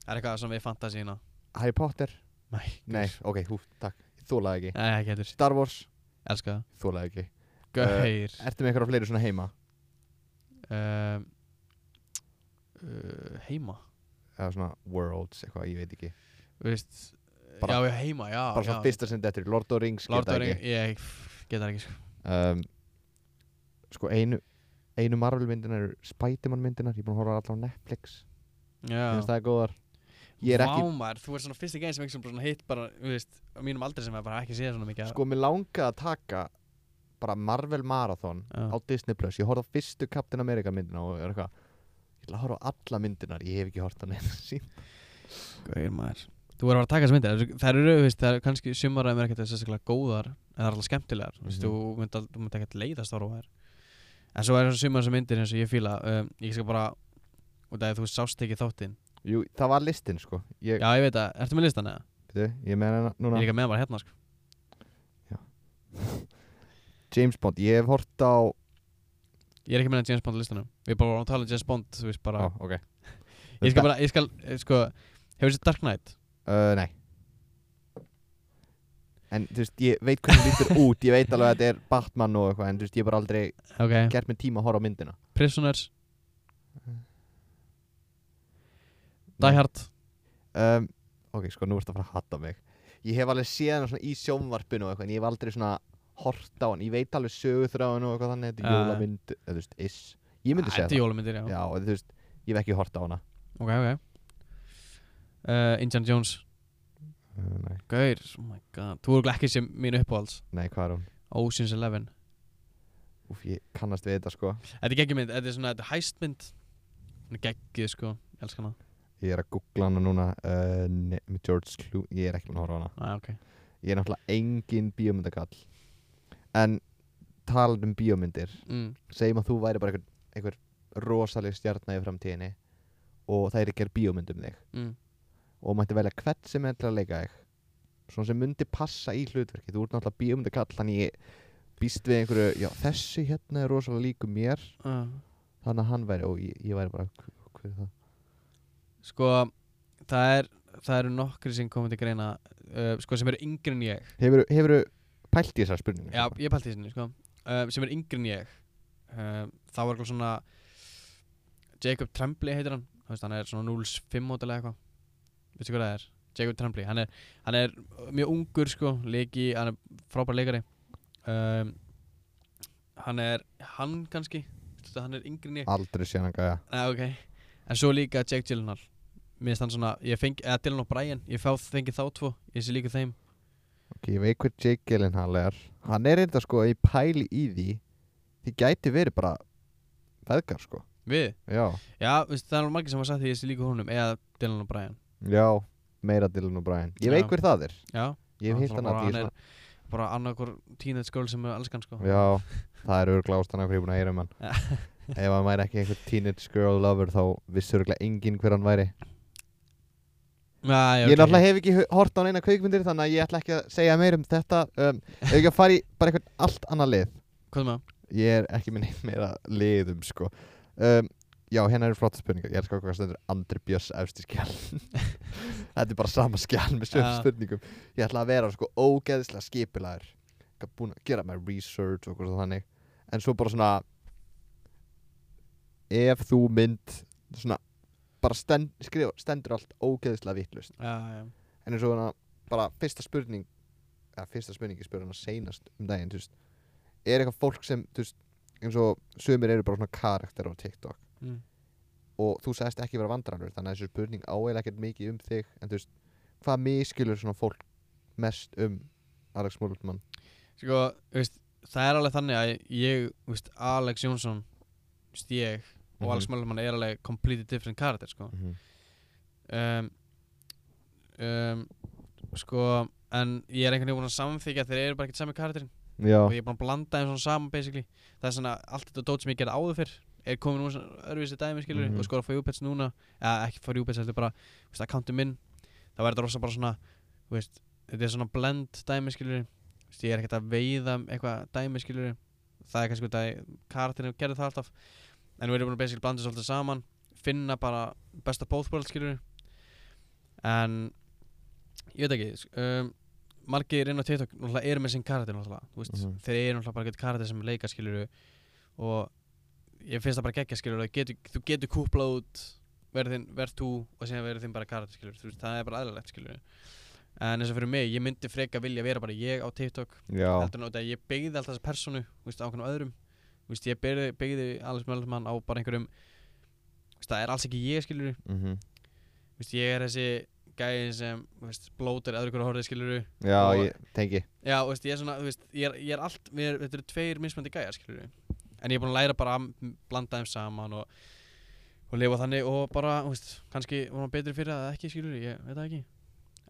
C: það er eitthvað sem við fantasína
A: Harry Potter
C: Nei,
A: Nei, ok, hú, takk Ég Þólaði ekki
C: Nei, ekki heldur,
A: Star Wars
C: elska það
A: Þólaði ekki Eh,
C: Gauðir
A: Ertu með einhverja fleiri svona heima?
C: uh, uh, Heima
A: Eða svona Worlds, eitthvað, ég veit ekki
C: Þú veist
A: Bara-
C: Já, já, heima, já
A: Bara svona
C: já.
A: fyrsta sem þetta er Lord of the Rings,
C: Lord of
A: geta
C: the
A: ekki
C: Rings, ég get það ekki sko.
A: um, Sko, einu Einu Marvel myndinar eru Spiderman myndinar Ég er búin að horfa á allar á Netflix Mér finnst
C: Já,
A: það er góðar Ég er ekki,
C: Vámar, þú ert svona fyrsti gæðin sem einhversum bara svona hitt bara, þú veist, á mínum aldri sem að bara ekki séð svona mikið af-
A: sko, mér langa að taka Bara Marvel Marathon
C: Já.
A: á Disney Plus Ég horfði á fyrstu Captain America myndina og er eitthvað Ég ætla að horfa á alla myndinar, ég hef ekki hort á neina sín
C: Gauðir maður Þú er að fara að taka þessar myndir þær- Þær eru, þú veist, það er kannski sumar að mér ekkert sérstaklega góðar En það er alltaf skemmtilegar Þú veist,
A: Mhm.
C: Þú myndi, al- þú myndi ekkert leiðast ára á þær En svo er svona sumar þessar myndir eins og ég fíla um, Ég skal bara Og það er þú sást ekki þáttinn
A: Jú, það var listin sko Ég,
C: Já, ég veit að, ertu með listan eða?
A: Bíddu, ég meina hana
C: Ég
A: núna
C: er líka með bara hérna sko
A: James Bond, ég hef hort á
C: Ég er ekki með neinn James Bond á listanum Við bara varum að tala um James Bond, þú veist bara
A: Á, ok
C: Ég skal bara, ég skal, eh, sko Hefur þessi Dark Knight?
A: uh, Nei En þú veist, ég veit hvernig hún lítur út Ég veit alveg að þetta er Batman og eitthvað En þú veist, ég hef bara aldrei
C: Ok,
A: gert mér tíma að horfa á myndina
C: Prisoners Die Hard
A: um, Ok, sko, nú ertu að fara að hatta mig Ég hef alveg séð hana svona í sjónvarpinu og eitthvað En ég hef aldrei svona hort á hann Ég veit alveg söguþráðan og eitthvað þannig Þetta er
C: Já, já.
A: jólamynd, eða þú veist, is Ég myndi
C: Ah,
A: segja
C: Þetta er
A: það
C: jólumyndir, já
A: Já, og þú veist, ég hef ekki hort á hana
C: Ok, ok uh, Indiana Jones
A: uh, Nei,
C: Gaur, oh my god Þú eru ekki sem mín uppáhalds
A: nei, hvað er hún?
C: Ocean's Eleven
A: Úf, ég kannast við þetta sko
C: Þetta er geggjumynd, þetta er svona, þetta er hæstmynd Hún er geggjuð sko, ég elska hana
A: Ég er að googla hana núna uh, ne, með George Clooney, ég er ekki búin að horfa á hana
C: Æ, ah, ok
A: Ég er náttúrulega engin bíómyndakall En talað um bíómyndir
C: mm.
A: Segjum að þú væri bara einhver, einhver rosaleg stjarnar í framtíðinni Og það er ekki að bíómynd um þig
C: Mm.
A: Og mætti velja hvert sem er til að leika þig Svona sem myndi passa í hlutverki Þú ert náttúrulega bíómyndakall Þannig ég býst við einhverju Já, þessi hérna er rosalega líku mér
C: Uh,
A: Þannig að hann væri, og ég, ég væri bara "Hver- Hver er það?
C: Sko, það er Það eru nokkri sem komið til greina uh, Sko, sem eru yngri en ég
A: Hefur, hefur pælt í þessar spurningu?
C: Já, ég pælti í sinni, sko uh, Sem eru yngri en ég uh, Þá er eitthvað svona Jacob Tremblay heitir hann Þú veist, Hann er svona 05 mótilega eitthvað Veistu hvað það er? Jacob Tremblay Hann er, hann er mjög ungur sko Leiki, hann er frábær leikari um, Hann er Hann kannski Þetta, Hann er yngri en ég
A: Aldrei séð hann gæja
C: Nei, ok En svo líka Jake Gyllenhaal Mér finnst hann svona Ég fengi, eða Dylan og Brian Ég fá, fengi þá tvo Ég sé líka þeim
A: Ok, ég veit hver Jake Gyllenhaal er Hann er reynda sko, ég pæli í því Þið gæti verið bara Feðgar sko
C: Við
A: Já,
C: Já, veistu, það er margir sem hafa sagt því Ég sé líka honum Eða Dylan og Brian
A: já, meira Dylan og Brian Ég
C: Já.
A: veit hver það er
C: Já
A: Ég hef
C: Hann
A: hitt
C: svona
A: hann að því
C: bara- hann er
A: svona-
C: bara annarkur teenage girl sem er elskan sko
A: Já, það er örgla ástæðan af hverju ég er búin að heyra um hann
C: Já.
A: Ef hann væri ekki einhver teenage girl lover Þá vissi örgla enginn hver hann væri
C: Nei,
A: Ég náttúrulega hef ekki hu- hort á neina kveikmyndir Þannig að ég ætla ekki að segja meir um þetta um, Ef ekki að fara í bara einhvern allt annað lið
C: Hvað með það?
A: Ég er ekki með neitt meira liðum sko um, Já, hérna eru flott spurningar Ég elskar hvað stendur Andri Björns efst í skjál Þetta er bara sama skjál með sömu
C: Já.
A: spurningum Ég ætla að vera sko ógeðislega skipilagur Ég er búin að gera mér research og eitthvað svo þannig En svo bara svona Ef þú mynd svona bara stend, skrifa, stendur allt ógeðislega vittlust
C: Já, já
A: en eins og hana bara fyrsta spurning eða fyrsta spurning ég spurði hana seinast um daginn þú veist, er eitthvað fólk sem þú veist, eins og sömur eru bara svona karakter á TikTok
C: mm.
A: og þú sagðist ekki vera vandrarlur þannig að þessi spurning áeila ekkert mikið um þig en þú veist, hvað miskilur svona fólk mest um Alex Múlutmann
C: Sko, þú veist, það er alveg þannig að ég, þú veist, Alex Jónsson þú veist, ég
A: Mhm.
C: og Alex Möllmann er alveg completely different character sko
A: mm -hmm.
C: um, um, Sko, en ég er einhvern veginn búinn að samþykja að þeir eru bara ekkert sami karakterinn
A: Já,
C: og ég er búinn að blanda þeim svona saman basically það er svona allt þetta dót sem ég gerði áður fyrr er komin úr svona öðruvísi dæmi skilur
A: Mhm.
C: og skora fyrir Júpets núna eða ekki fyrir Júpets, heldur bara, þú veist, accounti minn þá verður þetta rosa bara svona, þú veist þetta er svona blend dæmi skilur veist, ég er ekkert að veiða eitthvað dæmi skilur það er kannski út að karakterinu gerði það alltaf en við erum búin að basically blanda þessu alltaf saman finna bara besta bóðbörð skilur en ég veit ekki sk- um, margir inn á TikTok náttúrulega eru með sinn karakter náttúrulega þú veist,
A: Mhm.
C: þeir eru náttúrulega bara gett karakter sem leika skilur og ég finnst það bara geggja skilur þú getur, þú getur kúplað út verð þinn, verð þú og síðan verð þinn bara karakter skilur þú veist, það er bara aðlægt skilur en eins og fyrir mig, ég myndi freka vilja vera bara ég á TikTok
A: Já,
C: heldur en út að ég byggði alltaf þessa personu þú veist, á okkur öðrum Þú veist, ég byggði, byggði Alex Möllmann á bara einhverjum þú veist, það er alls ekki ég skilur
A: mhm.
C: veist, ég er þessi gæði sem þú veist, blótir öðru hverju horfið skilur
A: já
C: Og-
A: ég tengi
C: já, þú veist, ég er svona þú veist, ég er, ég er allt, mér, þetta eru tveir mismandi gæjar skilur en ég er búin að læra bara að m- blanda þeim saman og, og lifa þannig og bara, þú veist, kannski var maður betri fyrir það eða ekki skilur ég veit það ekki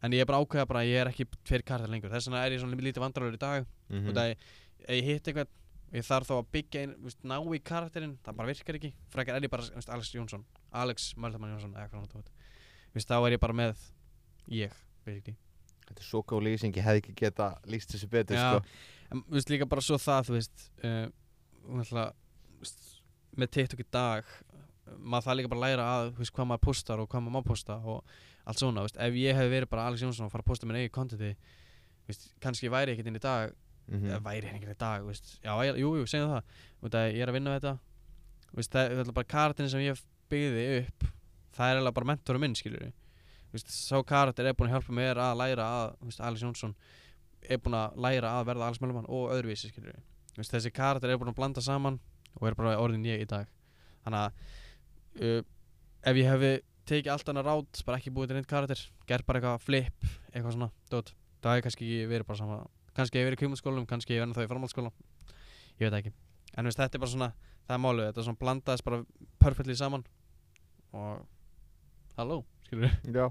C: en ég er bara að ákveða bara að ég er ekki tveir kartar lengur þess vegna er ég svona lítið vandrarlegur í dag
A: mm
C: mm. og það er, ef ég hitt eitthvað og ég þarf þá að byggja ein, viðst, ná í karakterinn það bara virkar ekki, frekar er ég bara viðst, Alex Jónsson, Alex Möldamann Jónsson eða hvað hann tótt, viðst, þá er ég bara með ég, basically
A: Þetta er svo góð lýsing, ég hefði ekki geta lýst þessu betur
C: Já.
A: sko.
C: en viðst, líka bara svo það, þú veist uh, alltaf, viðst, með TikTok í dag eh, maður það líka bara að læra að viðst, hvað maður postar og hvað maður má posta og allt svona, viðst, ef ég hefði verið bara Alex Jónsson og fara að posta minn eigin contenti viðst, kannski væri ég ekkert inn í dag
A: Mhm.
C: mm. væri henni ekki í dag veist. já, ég, jú, jú, segjum það Út að ég er að vinna við þetta veist, það, það er bara karatinn sem ég byggði upp það er eiginlega bara mentorum minn skilur veist, sá karakter er búin að hjálpa mér að læra að veist, Alex Jónsson er búin að læra að verða Alex Mölumann og öðruvísi skilur veist, þessi karakter er búin að blanda saman og er bara orðin ég í dag þannig að uh, ef ég hefði tekið allt annað rátt bara ekki búið til neitt karakter, gerð bara eitthvað flip eitthvað svona, dót, það hefði kannski ekki verið bara sama kannski hefur verið í kvímundsskólum, kannski hefur verið þá í framhaldsskólum ég veit það ekki en veist, þetta er bara svona, það er málið, þetta er svona blandaðist bara perfectly saman og halló, skilur við
A: Já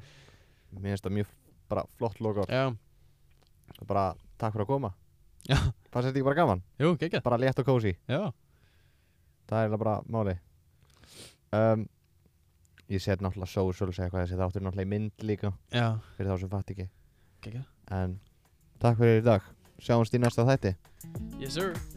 A: Mér finnst það mjög bara flott logo
C: já,
A: Bara takk fyrir að koma
C: Já.
A: Fannst þetta ekki bara gaman?
C: jú, gekkja,
A: Bara létt og kósi
C: já
A: Það er eiginlega bara máli um, Ég set náttúrulega socials eða eitthvað Þessi þáttur er náttúrulega í mynd líka
C: já,
A: Fyrir þá sem fatt ekki
C: gekkja,
A: En takk fyrir í dag Sjáumst í næsta þætti
C: yes sir